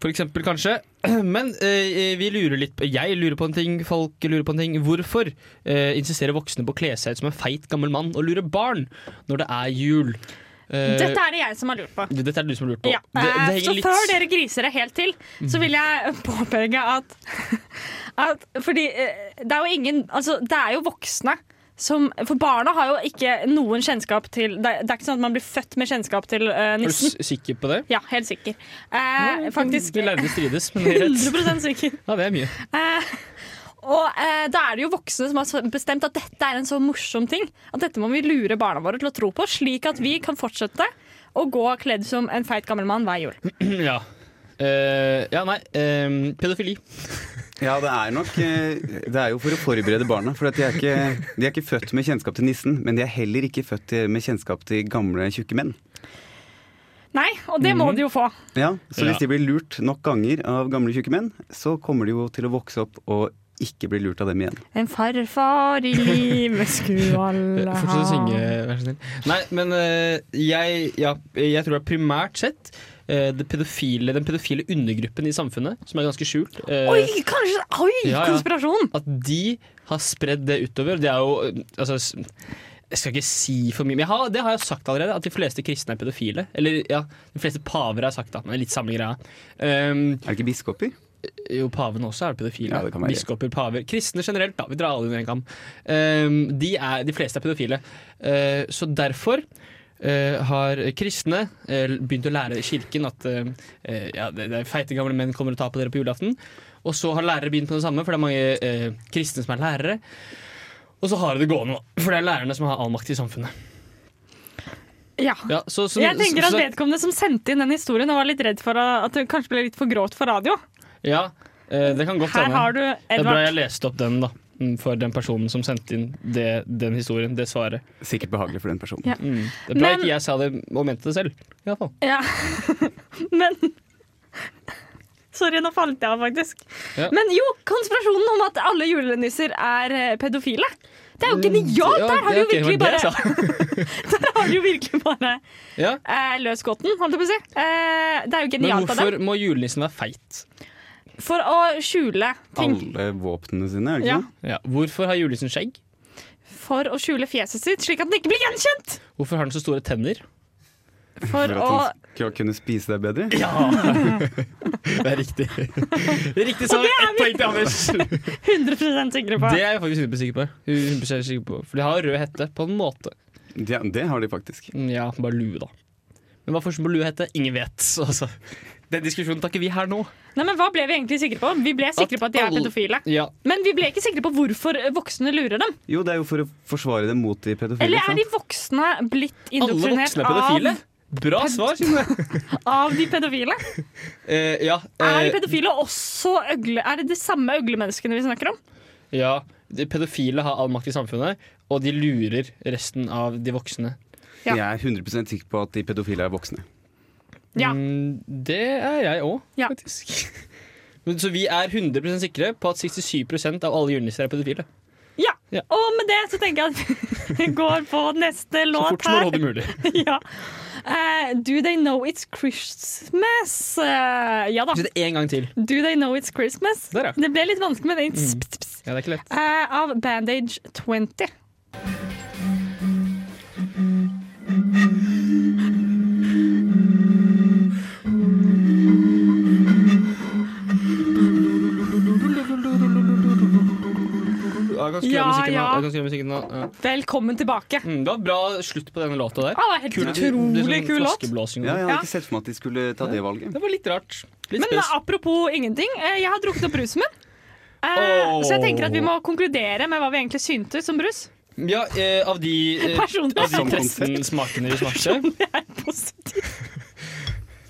Speaker 3: For eksempel, kanskje. Men eh, vi lurer litt på- Jeg lurer på en ting, folk lurer på en ting. Hvorfor eh, insisterer voksne på å kle seg ut som en feit gammel mann og lure barn når det er jul? Eh,
Speaker 2: Dette er det jeg som har lurt på.
Speaker 3: dette er det du som har lurt på.
Speaker 2: Ja.
Speaker 3: Det, det
Speaker 2: Eh,
Speaker 3: henger
Speaker 2: så
Speaker 3: litt-
Speaker 2: før dere griser det helt til, så vil jeg påpeke at, at Fordi eh, det er jo ingen Altså, det er jo voksne. Som, for barna har jo ikke noen kjennskap til Det er, det er ikke sånn at man blir født med kjennskap til eh,
Speaker 3: Er du
Speaker 2: nissen.
Speaker 3: s- sikker på det?
Speaker 2: Ja, helt sikker. Eh, faktisk
Speaker 3: De lærde strides, men det er rett.
Speaker 2: 100 sikker.
Speaker 3: Ja, det er mye.
Speaker 2: Eh, og eh, da er det jo voksne som har s- bestemt at dette er en så morsom ting. At dette må vi lure barna våre til å tro på, slik at vi kan fortsette å gå kledd som en feit gammel mann hver jul.
Speaker 3: ja. Eh, ja, nei. eh, pedofili.
Speaker 4: Ja, det er nok eh, Det er jo for å forberede barna. For at de, er ikke, de er ikke født med kjennskap til nissen, men de er heller ikke født med kjennskap til gamle, tjukke menn.
Speaker 2: Nei, og det må de jo få.
Speaker 4: Ja, Så
Speaker 3: Ja.
Speaker 4: hvis de blir lurt nok ganger av gamle, tjukke menn, så kommer de jo til å vokse opp og ikke bli lurt av dem igjen.
Speaker 2: En farfar i livet skulle alle ha.
Speaker 3: Eh, Fortsett å synge, vær så snill. Nei, men eh, jeg, ja, jeg tror det er primært sett eh, det pedofile, den pedofile undergruppen i samfunnet, som er ganske skjult. eh,
Speaker 2: Oi, kanskje Oi,
Speaker 3: Ja, ja.
Speaker 2: konspirasjon!
Speaker 3: At de har spredd det utover. Det er jo eh, altså, s- Jeg skal ikke si for mye, men jeg har, det har jeg sagt allerede. At de fleste kristne er pedofile. Eller ja, de fleste paver har sagt det. Men det er litt samme greia. Um,
Speaker 4: Er det ikke biskoper?
Speaker 3: jo, pavene også er pedofile.
Speaker 4: Ja, det kan være.
Speaker 3: Biskoper, paver. Kristne generelt, da. Vi drar alle under en kam. Ehm, de, er, de fleste er pedofile. Eh, så derfor eh, har kristne eh, begynt å lære i kirken at eh, eh, ja, det, det er feite gamle menn kommer og tar på dere på julaften. Og så har lærere begynt på det samme, for det er mange eh, kristne som er lærere. Og så har de det gående, da, for det er lærerne som har all makt i samfunnet.
Speaker 2: Ja.
Speaker 3: Ja, så, så,
Speaker 2: Jeg tenker at
Speaker 3: så-
Speaker 2: vedkommende som sendte inn den historien, var litt redd for at det kanskje ble litt for grovt for radio.
Speaker 3: ja, eh, det kan godt
Speaker 2: Her
Speaker 3: hende.
Speaker 2: har du
Speaker 3: Det er bra jeg
Speaker 2: Edvard.
Speaker 3: leste opp den, da. mm, For den personen som sendte inn det, den historien, det svaret.
Speaker 4: Sikkert behagelig for den personen.
Speaker 2: Ja.
Speaker 3: Mm. Det er bra
Speaker 2: Men-
Speaker 3: ikke jeg sa det og mente det selv. I hvert fall.
Speaker 2: Ja. Men Sorry, nå falt jeg av, faktisk.
Speaker 3: Ja.
Speaker 2: Men jo, konspirasjonen om at alle julenisser er eh, pedofile. Det er jo genialt!
Speaker 3: Ja,
Speaker 2: Der har du
Speaker 3: det-
Speaker 2: jo
Speaker 3: ok,
Speaker 2: virkelig
Speaker 3: det var
Speaker 2: bare,
Speaker 3: det jeg sa.
Speaker 2: der har du jo virkelig bare
Speaker 3: ja.
Speaker 2: eh, løst gåten, holdt jeg på å si. Eh, det er jo
Speaker 3: Men
Speaker 2: genialt av dem.
Speaker 3: hvorfor må julenissen være feit?
Speaker 2: For å skjule ting.
Speaker 4: Alle våpnene sine, er det ikke
Speaker 2: Ja.
Speaker 4: det?
Speaker 3: Ja. Hvorfor har julenissen skjegg?
Speaker 2: For å skjule fjeset sitt, slik at den ikke blir gjenkjent!
Speaker 3: Hvorfor har den så store tenner?
Speaker 2: For
Speaker 4: For
Speaker 2: å
Speaker 4: at han skal kunne spise deg bedre?
Speaker 3: Det er riktig. Det er riktig svar. Ett poeng til Anders.
Speaker 2: 100 sikre på.
Speaker 3: Det er jeg faktisk 100 sikker på. 100% sikker på. For de har rød hette, på en måte.
Speaker 4: Ja, det har de faktisk.
Speaker 3: Mm, Ja, bare lue, da. Men hva er forskjellen på lue og hette? Ingen vet. Altså. Den diskusjonen tar ikke vi her nå.
Speaker 2: Nei, men Hva ble vi egentlig sikre på? Vi ble sikre på at de er
Speaker 3: alle-
Speaker 2: pedofile.
Speaker 3: Ja,
Speaker 2: Men vi ble ikke sikre på hvorfor voksne lurer dem.
Speaker 4: Jo, det er jo for å forsvare dem mot de pedofile.
Speaker 2: Eller er
Speaker 4: ikke sant?
Speaker 2: de voksne blitt
Speaker 3: Alle
Speaker 2: indoktrinert
Speaker 3: voksne er pedofile.
Speaker 2: av,
Speaker 3: Bra svar, Synne.
Speaker 2: av de pedofile?
Speaker 3: Eh, ja,
Speaker 2: Er de
Speaker 3: eh,
Speaker 2: pedofile også øgle? Er det de samme øglemenneskene vi snakker om?
Speaker 3: ja, de pedofile har all makt i samfunnet, og de lurer resten av de voksne.
Speaker 2: Ja.
Speaker 4: Jeg er 100 sikker på at de pedofile er voksne.
Speaker 2: Ja.
Speaker 3: Mm, det er jeg òg,
Speaker 2: Ja.
Speaker 3: faktisk. Men, så vi er 100 sikre på at 67 av alle julenisser er pedofile.
Speaker 2: Ja.
Speaker 3: Ja.
Speaker 2: Og med det så tenker jeg at vi går på neste
Speaker 3: Så
Speaker 2: låt
Speaker 3: fort som
Speaker 2: her.
Speaker 3: overhodet mulig.
Speaker 2: Ja. Eh, do they know it's Christmas? Eh, ja da.
Speaker 3: Si det én gang til.
Speaker 2: Do they know it's Christmas?
Speaker 3: Der, ja. Mm.
Speaker 2: Det ble litt vanskelig med den ps, ps, ps,
Speaker 3: Ja, det er ikke lett.
Speaker 2: eh, av Bandage 20.
Speaker 3: Ja, jeg kan skru
Speaker 2: Ja, ja.
Speaker 3: av musikken nå. Jeg kan skru av musikken nå. Ja.
Speaker 2: Velkommen tilbake.
Speaker 3: Mm, det var bra slutt på denne låta der.
Speaker 2: Ah, det var helt
Speaker 3: Kul- det er
Speaker 2: utrolig
Speaker 3: sånn
Speaker 2: kul låt.
Speaker 3: flaskeblåsing og
Speaker 4: Ja, jeg hadde
Speaker 2: Ja.
Speaker 4: ikke sett for meg at de skulle ta det valget.
Speaker 3: sånn. Det var litt rart. Litt
Speaker 2: Men
Speaker 3: spes.
Speaker 2: apropos ingenting, eh, jeg har drukket opp brusen min. Eh,
Speaker 3: Åh.
Speaker 2: Så jeg tenker at vi må konkludere med hva vi egentlig syntes om brus.
Speaker 3: Ja, eh, av de, eh,
Speaker 2: Personlig.
Speaker 3: av de
Speaker 4: Som
Speaker 3: 13 smakene vi smakte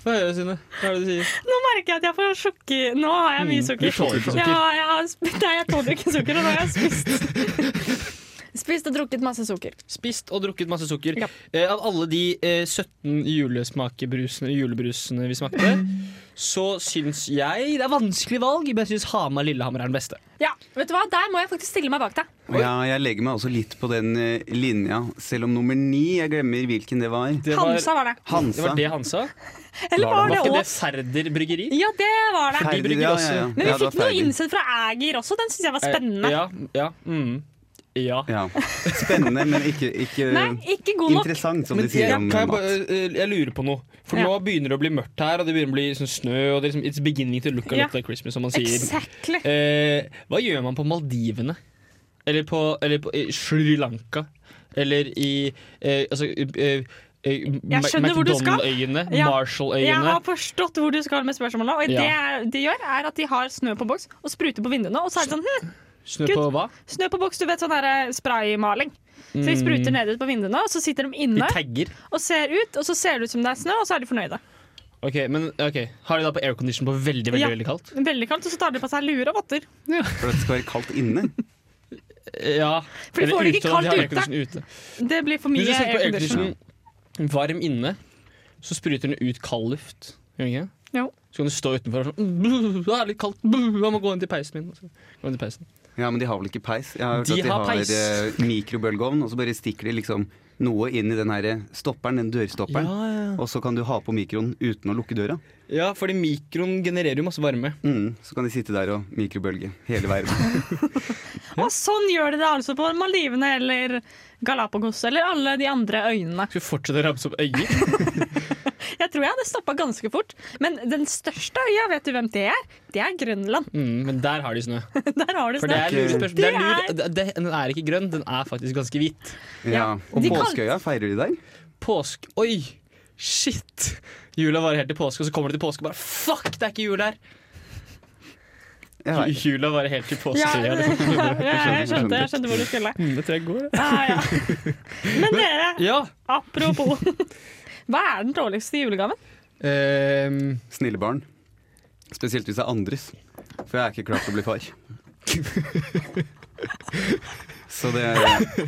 Speaker 3: Hva gjør du, Synne? Hva er det du sier?
Speaker 2: Nå merker jeg at jeg får sukker. Nå har jeg mye
Speaker 3: Mm, Du
Speaker 2: sukker.
Speaker 3: tåler ikke
Speaker 2: Ja,
Speaker 3: sukker.
Speaker 2: jeg har sp- Nei, jeg tåler ikke sukker, og nå har jeg spist. Spist og drukket masse sukker.
Speaker 3: Spist og drukket masse sukker.
Speaker 2: Ja.
Speaker 3: Eh, av alle de eh, 17 julesmakebrusene, julebrusene vi smakte, så syns jeg det er vanskelig valg, men jeg syns Hamar-Lillehammer er den beste.
Speaker 2: Ja, vet du hva? Der må jeg faktisk stille meg bak deg.
Speaker 4: Og ja, jeg legger meg også litt på den eh, linja, selv om nummer ni Jeg glemmer hvilken det var.
Speaker 3: Det var,
Speaker 2: Hansa var det.
Speaker 3: det
Speaker 4: Hansa.
Speaker 3: var det Hansa.
Speaker 2: Eller
Speaker 4: Var
Speaker 2: var
Speaker 3: Var
Speaker 2: det
Speaker 3: ikke det
Speaker 2: òg?
Speaker 3: Færder bryggeri?
Speaker 2: Ja, det var det.
Speaker 3: De
Speaker 4: Ferdig,
Speaker 3: brygger
Speaker 4: ja,
Speaker 3: også.
Speaker 4: ja, ja.
Speaker 2: Men vi
Speaker 4: Ja, det var Eh,
Speaker 2: fikk noe
Speaker 4: ferdig.
Speaker 2: innsett fra Ægir også. Den syns jeg var spennende.
Speaker 3: Eh, Ja. ja, mm, ja.
Speaker 4: Ja. Spennende, men ikke, ikke
Speaker 2: Nei, ikke god nok.
Speaker 4: interessant, som
Speaker 3: Men
Speaker 4: de sier
Speaker 3: jeg,
Speaker 4: om
Speaker 3: kan jeg,
Speaker 4: mat.
Speaker 3: bare- eh, jeg lurer på noe. For
Speaker 2: Ja.
Speaker 3: nå begynner det å bli mørkt her, og det begynner å bli sånn snø. Og det er liksom, it's beginning to look a
Speaker 2: Ja.
Speaker 3: lot like Christmas, som man sier.
Speaker 2: Exactly.
Speaker 3: Eh, hva gjør man på Maldivene? Eller på, eller på eh, Sri Lanka? Eller i eh, altså, eh, eh, Ma-
Speaker 2: skjønner hvor du skal.
Speaker 3: McDonald-øyene?
Speaker 2: Ja. Jeg
Speaker 3: Marshall-øyene?
Speaker 2: har forstått hvor du skal med spørsmålet. Og
Speaker 3: Ja.
Speaker 2: det de gjør, er at de har snø på boks og spruter på vinduene. Og så er det sånn hm,
Speaker 3: Snø
Speaker 2: Gud.
Speaker 3: på hva?
Speaker 2: Snø på boks, du vet sånn der spraymaling. Så de
Speaker 3: Mm.
Speaker 2: spruter ned ut på vinduene, og så sitter de
Speaker 3: I
Speaker 2: inne
Speaker 3: tagger.
Speaker 2: og ser ut, og så ser det ut som det er snø, og så er de fornøyde.
Speaker 3: Ok, men ok Har de da på aircondition på veldig, veldig,
Speaker 2: Ja.
Speaker 3: veldig kaldt?
Speaker 2: Veldig kaldt, og så tar de på seg lue og votter.
Speaker 4: For at det skal være kaldt inne.
Speaker 3: Eh, Ja.
Speaker 2: For de får det ikke
Speaker 3: da, de har
Speaker 2: kaldt
Speaker 3: aircondition ute.
Speaker 2: Det blir for
Speaker 3: Hvis du
Speaker 2: mye
Speaker 3: setter på
Speaker 2: aircondition.
Speaker 3: aircondition varm inne, så spruter den ut kald luft. Gjør den ikke? det?
Speaker 2: Jo.
Speaker 3: Så kan du stå utenfor og sånn «Buh, Det er litt kaldt. Buh, Jeg må gå inn til peisen min. Og så Gå inn til peisen.
Speaker 4: Ja, men de har vel ikke peis? Jeg har hørt
Speaker 3: De
Speaker 4: at de
Speaker 3: har
Speaker 4: har,
Speaker 3: peis.
Speaker 4: eh, mikrobølgeovn, og så bare stikker de liksom noe inn i den her eh, stopperen, den dørstopperen.
Speaker 3: ja.
Speaker 4: Og så kan du ha på mikroen uten å lukke døra.
Speaker 3: ja, fordi mikroen genererer jo masse varme.
Speaker 4: Mm, så kan de sitte der og mikrobølge hele verden.
Speaker 2: Og sånn gjør de det altså på Maldivene eller Galapagos eller alle de andre øyene.
Speaker 3: Skal vi fortsette å ramse opp øyer?
Speaker 2: Jeg tror jeg hadde stoppa ganske fort. Men den største øya, vet du hvem det er? Det er Grønland.
Speaker 3: Mm, men der har de snø.
Speaker 2: Der har du
Speaker 3: For det
Speaker 2: snø.
Speaker 3: er lurespørsmål. Det er lur, det, det, den er ikke grønn, den er faktisk ganske hvit.
Speaker 4: Ja. Og
Speaker 2: De kan-
Speaker 4: påskeøya, feirer de der?
Speaker 3: Påsk Oi! Shit! Jula varer helt til påske, og så kommer det til påske og bare Fuck, det er ikke jul her!
Speaker 4: Ja,
Speaker 3: Jula varer helt til påske.
Speaker 2: Ja,
Speaker 3: Ja, det,
Speaker 2: jeg skjønte, jeg skjønte hvor du skulle.
Speaker 3: Mm, det tror jeg går.
Speaker 2: Ja, ja. Men dere,
Speaker 3: Ja.
Speaker 2: Apropos. Hva er den dårligste julegaven?
Speaker 3: Ehm,
Speaker 4: snille barn. Spesielt hvis det er andres. For jeg er ikke klar til å bli far. Så det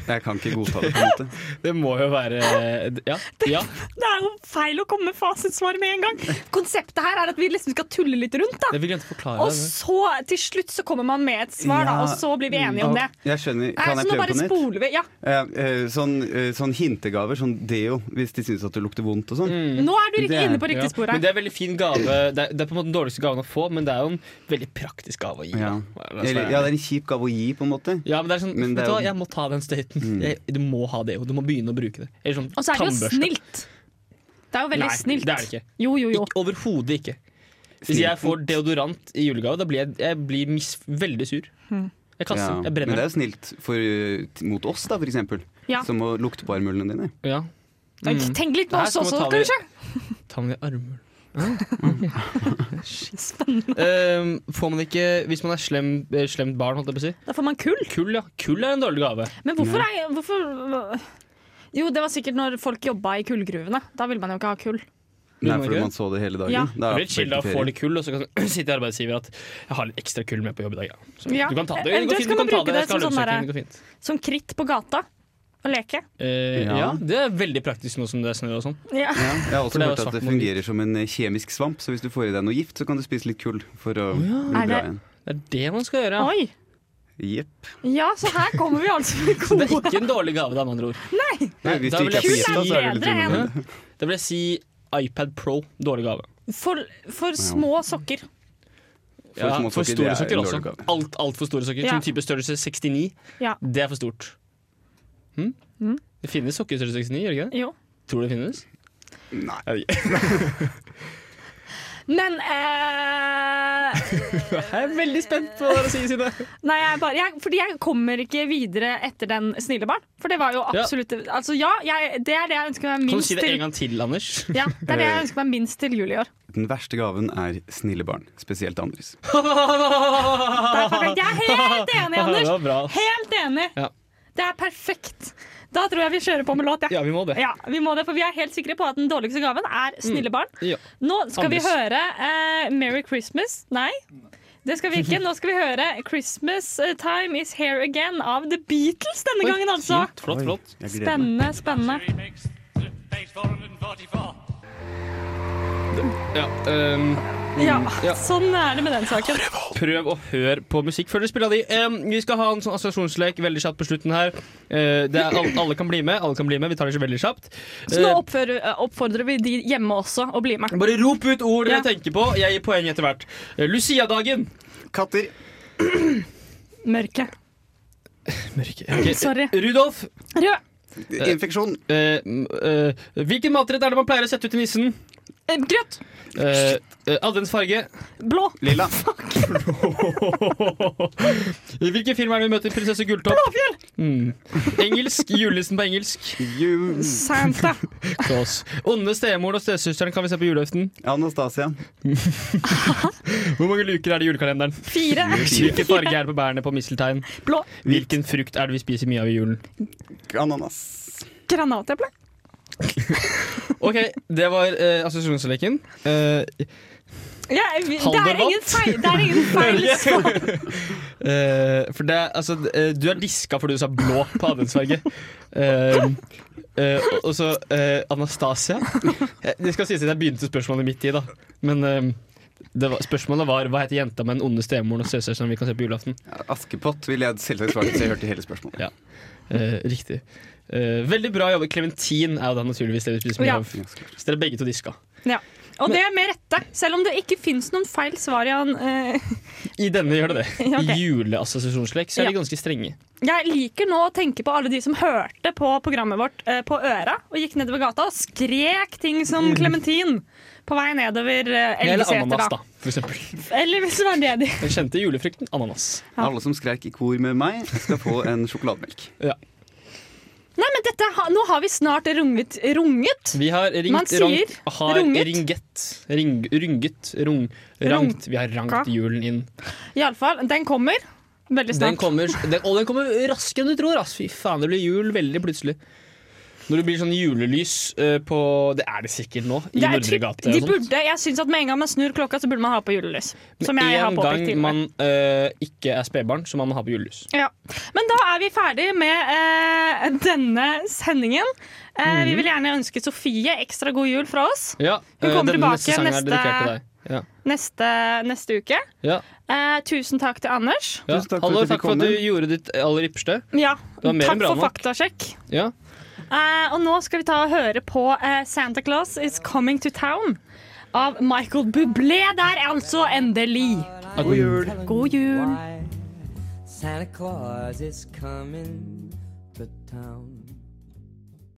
Speaker 4: Jeg kan ikke godta det, på en måte.
Speaker 3: det må jo være Ja. ja.
Speaker 2: Det er jo feil å komme med fasitsvar med en gang. Konseptet her er at vi liksom skal tulle litt rundt, da.
Speaker 3: Det vil jeg ikke forklare. altså.
Speaker 2: Og så til slutt så kommer man med et svar, da,
Speaker 4: Ja.
Speaker 2: og så blir vi enige om det.
Speaker 4: Jeg
Speaker 2: Nei,
Speaker 4: skjønner. Kan
Speaker 2: så
Speaker 4: jeg
Speaker 2: nå
Speaker 4: prøve
Speaker 2: bare
Speaker 4: på nytt?
Speaker 2: spoler vi. Ja,
Speaker 3: Mm.
Speaker 4: Eh, eh, sånn, eh, sånn hintegaver, sånn deo, hvis de syns at det lukter vondt og sånn.
Speaker 3: Mm.
Speaker 2: nå er du
Speaker 4: Det
Speaker 2: riktig
Speaker 4: er-
Speaker 2: inne på
Speaker 3: Ja.
Speaker 2: riktig spor
Speaker 3: Men
Speaker 2: her.
Speaker 3: det er en veldig fin gave. Det er, det er på en måte den dårligste gaven å få, men det er jo en veldig praktisk gave å gi.
Speaker 4: Ja.
Speaker 3: da. La oss
Speaker 4: Eller,
Speaker 3: være
Speaker 4: ja,
Speaker 3: ærlig.
Speaker 4: det er en kjip gave å gi, på en måte.
Speaker 3: ja, men det er sånn
Speaker 4: Men
Speaker 3: Vet du
Speaker 4: det er jo- Mm.
Speaker 3: hva, jeg må ta den støyten. Jeg, du må ha det, og du må begynne å bruke det. Eller sånn
Speaker 2: Og så er det jo
Speaker 3: tannbørste.
Speaker 2: snilt. Det er jo veldig
Speaker 3: Nei,
Speaker 2: snilt.
Speaker 3: det er det ikke.
Speaker 2: Jo, jo, jo.
Speaker 3: Ikke- Overhodet ikke. Hvis jeg får deodorant i julegave, da blir jeg, jeg blir mis, veldig sur.
Speaker 2: Hmm.
Speaker 3: Jeg kaster
Speaker 4: Ja.
Speaker 3: den. Jeg
Speaker 4: Men det
Speaker 3: brenner den.
Speaker 4: er jo snilt for, eh, t- mot oss, da, for eksempel.
Speaker 2: Ja.
Speaker 4: Som å lukte på armhulene dine.
Speaker 3: Ja. Mm.
Speaker 2: Tenk litt
Speaker 3: Det
Speaker 2: på
Speaker 3: her
Speaker 2: oss
Speaker 3: skal man
Speaker 2: også,
Speaker 3: ta det-
Speaker 2: kanskje.
Speaker 3: Ta med armhulen. Spennende. Ehm, får man ikke, hvis man er slem, eh, slemt barn, holdt jeg på å si.
Speaker 2: Da får man kull.
Speaker 3: Kull, ja. Kull er en dårlig gave.
Speaker 2: Men hvorfor er hvorfor, Jo, det var sikkert når folk jobba i kullgruvene. Da ville man jo ikke ha kull.
Speaker 4: Nei,
Speaker 3: man
Speaker 4: fordi
Speaker 3: ikke?
Speaker 4: man så det hele dagen.
Speaker 2: Ja.
Speaker 4: Da
Speaker 3: Det
Speaker 4: er
Speaker 3: blir litt chill da å
Speaker 4: det
Speaker 3: få
Speaker 4: ferie.
Speaker 3: litt kull, og så kan sånn, sitte arbeidsgiver at jeg har litt ekstra kull med på jobb i dag. Ja. Så,
Speaker 2: Ja.
Speaker 3: Du kan ta det.
Speaker 2: Eventuelt
Speaker 3: Det går
Speaker 2: kan
Speaker 3: fint. Du
Speaker 2: man
Speaker 3: kan ta
Speaker 2: bruke
Speaker 3: det. Jeg
Speaker 2: det
Speaker 3: skal ha
Speaker 2: som sånn
Speaker 3: lønnsøkning.
Speaker 2: der-
Speaker 3: Det går fint.
Speaker 2: Som kritt på gata. Å leke.
Speaker 3: Eh,
Speaker 4: Ja.
Speaker 3: ja. det er veldig praktisk nå som det er snø og sånn.
Speaker 2: Ja.
Speaker 4: Ja, jeg har
Speaker 3: For
Speaker 4: også
Speaker 3: det er jo
Speaker 4: hørt at
Speaker 3: svart
Speaker 4: det
Speaker 3: magi.
Speaker 4: fungerer som en eh, kjemisk svamp, så hvis du får i deg noe gift, så kan du spise litt kull for å bli
Speaker 2: Er
Speaker 4: bra
Speaker 2: det-
Speaker 4: igjen.
Speaker 3: Det er det man skal gjøre.
Speaker 2: Oi!
Speaker 4: Jepp.
Speaker 2: Ja, så her kommer vi altså med
Speaker 3: Så det er
Speaker 2: gode
Speaker 3: ikke en dårlig gave, da, med andre ord.
Speaker 4: Nei, hvis
Speaker 3: da
Speaker 4: du
Speaker 3: vil
Speaker 4: ikke er
Speaker 3: jeg
Speaker 4: på
Speaker 3: si-
Speaker 4: gift, da, så er det litt
Speaker 2: Kull er bedre
Speaker 4: unødvendig.
Speaker 3: Da vil jeg si iPad Pro. Dårlig gave.
Speaker 2: for, for små sokker.
Speaker 4: For små
Speaker 3: for
Speaker 4: sokker, det
Speaker 3: store
Speaker 4: er
Speaker 3: sokker
Speaker 4: en
Speaker 3: også.
Speaker 4: dårlig gave.
Speaker 3: Alt, alt for store sokker.
Speaker 2: Ja.
Speaker 3: Sånn type størrelse 69,
Speaker 2: Ja.
Speaker 3: det er for stort. Hm?
Speaker 2: Mm.
Speaker 3: Det finnes sokker i størrelse 69, gjør det ikke det?
Speaker 2: Jo.
Speaker 3: Tror du det finnes?
Speaker 2: Men eh,
Speaker 3: Jeg er veldig spent på hva dere sier, Sine.
Speaker 2: Nei, jeg bare jeg, Fordi jeg kommer ikke videre etter den snille barn. For det var jo
Speaker 3: Ja.
Speaker 2: absolutt Altså ja, jeg, det er det jeg ønsker meg
Speaker 3: Kan du
Speaker 2: minst
Speaker 3: si det
Speaker 2: til
Speaker 3: en gang til, Anders?
Speaker 2: ja, det er det jeg ønsker meg minst til jul i år.
Speaker 4: Den verste gaven er snille barn, spesielt Andres.
Speaker 2: Det er perfekt. Jeg er helt enig,
Speaker 3: Det
Speaker 2: Anders!
Speaker 3: var bra.
Speaker 2: Helt enig!
Speaker 3: Ja.
Speaker 2: Det er perfekt. Da tror jeg vi kjører på med låt, jeg.
Speaker 3: Ja, vi må det.
Speaker 2: Ja, vi må det, for vi er helt sikre på at den dårligste gaven er snille barn.
Speaker 3: Ja.
Speaker 2: Nå skal
Speaker 3: Mm. Anders.
Speaker 2: vi høre eh, 'Merry Christmas'. Nei, det skal vi ikke. Nå skal vi høre 'Christmas eh, Time Is Here Again' av The Beatles denne gangen, altså.
Speaker 3: Fint, flott, flott.
Speaker 4: Jeg gleder meg.
Speaker 2: Spennende, spennende.
Speaker 3: Ja, ehm,
Speaker 2: Ja,
Speaker 3: Ja. Eh.
Speaker 2: sånn er det med den saken.
Speaker 3: prøv å høre på musikk før du spiller av de. Ehm, vi skal ha en sånn assosiasjonslek veldig kjapt på slutten her. Eh, det er, alle, alle kan bli med. Alle kan bli med, Vi tar det ikke veldig kjapt.
Speaker 2: Så nå
Speaker 3: Eh,
Speaker 2: oppfører, oppfordrer vi de hjemme også å bli med.
Speaker 3: bare rop ut ord
Speaker 2: Ja.
Speaker 3: dere tenker på. Jeg gir poeng etter hvert. Eh, Lucia-dagen.
Speaker 4: Katter.
Speaker 2: Mørke.
Speaker 3: Mørke. Ok.
Speaker 2: Sorry.
Speaker 3: Rudolf.
Speaker 2: Rød.
Speaker 4: Infeksjon.
Speaker 3: eh, m- eh, hvilken matrett er det man pleier å sette ut til nissen?
Speaker 2: Eh, Grønt.
Speaker 3: Uh, Adventsfarge.
Speaker 2: Blå.
Speaker 4: Lilla.
Speaker 3: I hvilken film er det vi møter prinsesse Gulltopp? Blåfjell! Mm. Engelsk. Julenissen på engelsk.
Speaker 4: Jul.
Speaker 3: Mm.
Speaker 2: Santa.
Speaker 3: Kås. Onde stemoren og stesøsteren kan vi se på julaften.
Speaker 4: Anastasia.
Speaker 3: Hvor mange luker er det i julekalenderen?
Speaker 2: Fire.
Speaker 3: Hvilken farge er det på bærene på misteltein?
Speaker 2: Blå.
Speaker 3: Hvilken frukt er det vi spiser mye av i julen?
Speaker 4: Ananas.
Speaker 2: Granateple.
Speaker 3: Ok, det var uh, assosiasjonsleken. Eh,
Speaker 2: Ja, vi, det, er
Speaker 3: Haldervann.
Speaker 2: ingen feil, det er ingen feil svar.
Speaker 3: eh, for det, er- altså, eh, du er diska fordi du sa blå på adventsfarge. Eh, eh, og- og så eh, Anastasia. Eh, Det skal sies at jeg begynte spørsmålet midt i, da. Men eh, det var, spørsmålet var hva heter jenta med den onde stemoren og stesøsteren vi kan se på julaften?
Speaker 4: Askepott ville jeg selvsagt svart hvis jeg hørte hele spørsmålet.
Speaker 3: Eh, riktig. Eh, veldig bra jobba. Clementin er jo da naturligvis det vi spiser mye
Speaker 2: Ja.
Speaker 3: av. Så dere er begge to diska.
Speaker 2: Og det er med rette, selv om det ikke fins noen feil svar. Jan. Eh,
Speaker 3: I denne gjør det det.
Speaker 2: Ja, ok.
Speaker 3: I juleassosiasjonslek så er de
Speaker 2: Ja.
Speaker 3: ganske strenge.
Speaker 2: Jeg liker nå å tenke på alle de som hørte på programmet vårt eh, på øra og gikk nedover gata og skrek ting som Clementin på vei nedover eh,
Speaker 3: Mm. Eller
Speaker 2: Elgeseter.
Speaker 3: ananas,
Speaker 2: da.
Speaker 3: da, for eksempel.
Speaker 2: Eller hvis det var det de
Speaker 3: Den kjente julefrukten ananas.
Speaker 4: Alle som skreik i kor med meg, skal få en sjokolademelk.
Speaker 2: Nei, men dette, ha- Nå har vi snart runget. runget.
Speaker 3: Vi har
Speaker 2: Man
Speaker 3: ringt
Speaker 2: sier
Speaker 3: rangt, har
Speaker 2: runget.
Speaker 3: ringet ring, Runget rung, Rangt. Vi har rangt julen inn.
Speaker 2: Iallfall. Den kommer veldig
Speaker 3: Den
Speaker 2: snart.
Speaker 3: kommer, den, og den kommer raskere enn du tror. Ass. Fy faen, det blir jul veldig plutselig. Når det blir sånn julelys eh, på Det er det sikkert nå, i
Speaker 2: Det er
Speaker 3: Nordre
Speaker 2: typ-
Speaker 3: gate. og sånn.
Speaker 2: de
Speaker 3: sånt.
Speaker 2: burde, jeg synes at Med en gang man snur klokka, så burde man ha på julelys. Som jeg har
Speaker 3: en
Speaker 2: påpekt
Speaker 3: gang
Speaker 2: tidligere.
Speaker 3: man eh, ikke er spedbarn, så man må ha på julelys.
Speaker 2: Ja. Men da er vi ferdig med eh, denne sendingen. Eh, Vi vil gjerne ønske Sofie ekstra god jul fra oss
Speaker 3: Ja,
Speaker 2: Hun
Speaker 3: eh,
Speaker 2: kommer
Speaker 3: denne
Speaker 2: tilbake
Speaker 3: sangen er
Speaker 2: neste-
Speaker 3: dedikert til deg. Ja.
Speaker 2: neste, neste uke.
Speaker 3: Ja,
Speaker 2: Eh, tusen takk til Anders.
Speaker 3: ja.
Speaker 4: Tusen takk for
Speaker 3: Hallo,
Speaker 4: at du fikk
Speaker 3: takk for at
Speaker 4: komme.
Speaker 3: du gjorde ditt aller ypperste.
Speaker 2: Ja,
Speaker 3: var mer enn
Speaker 2: takk
Speaker 3: bra
Speaker 2: for
Speaker 3: nok.
Speaker 2: faktasjekk.
Speaker 3: Ja.
Speaker 2: Eh, og nå skal vi ta og høre på eh, 'Santa Claus Is Coming to Town' av Michael Bublé der, altså. Endelig.
Speaker 3: God jul.
Speaker 2: God jul.
Speaker 8: Santa Claus is coming to town.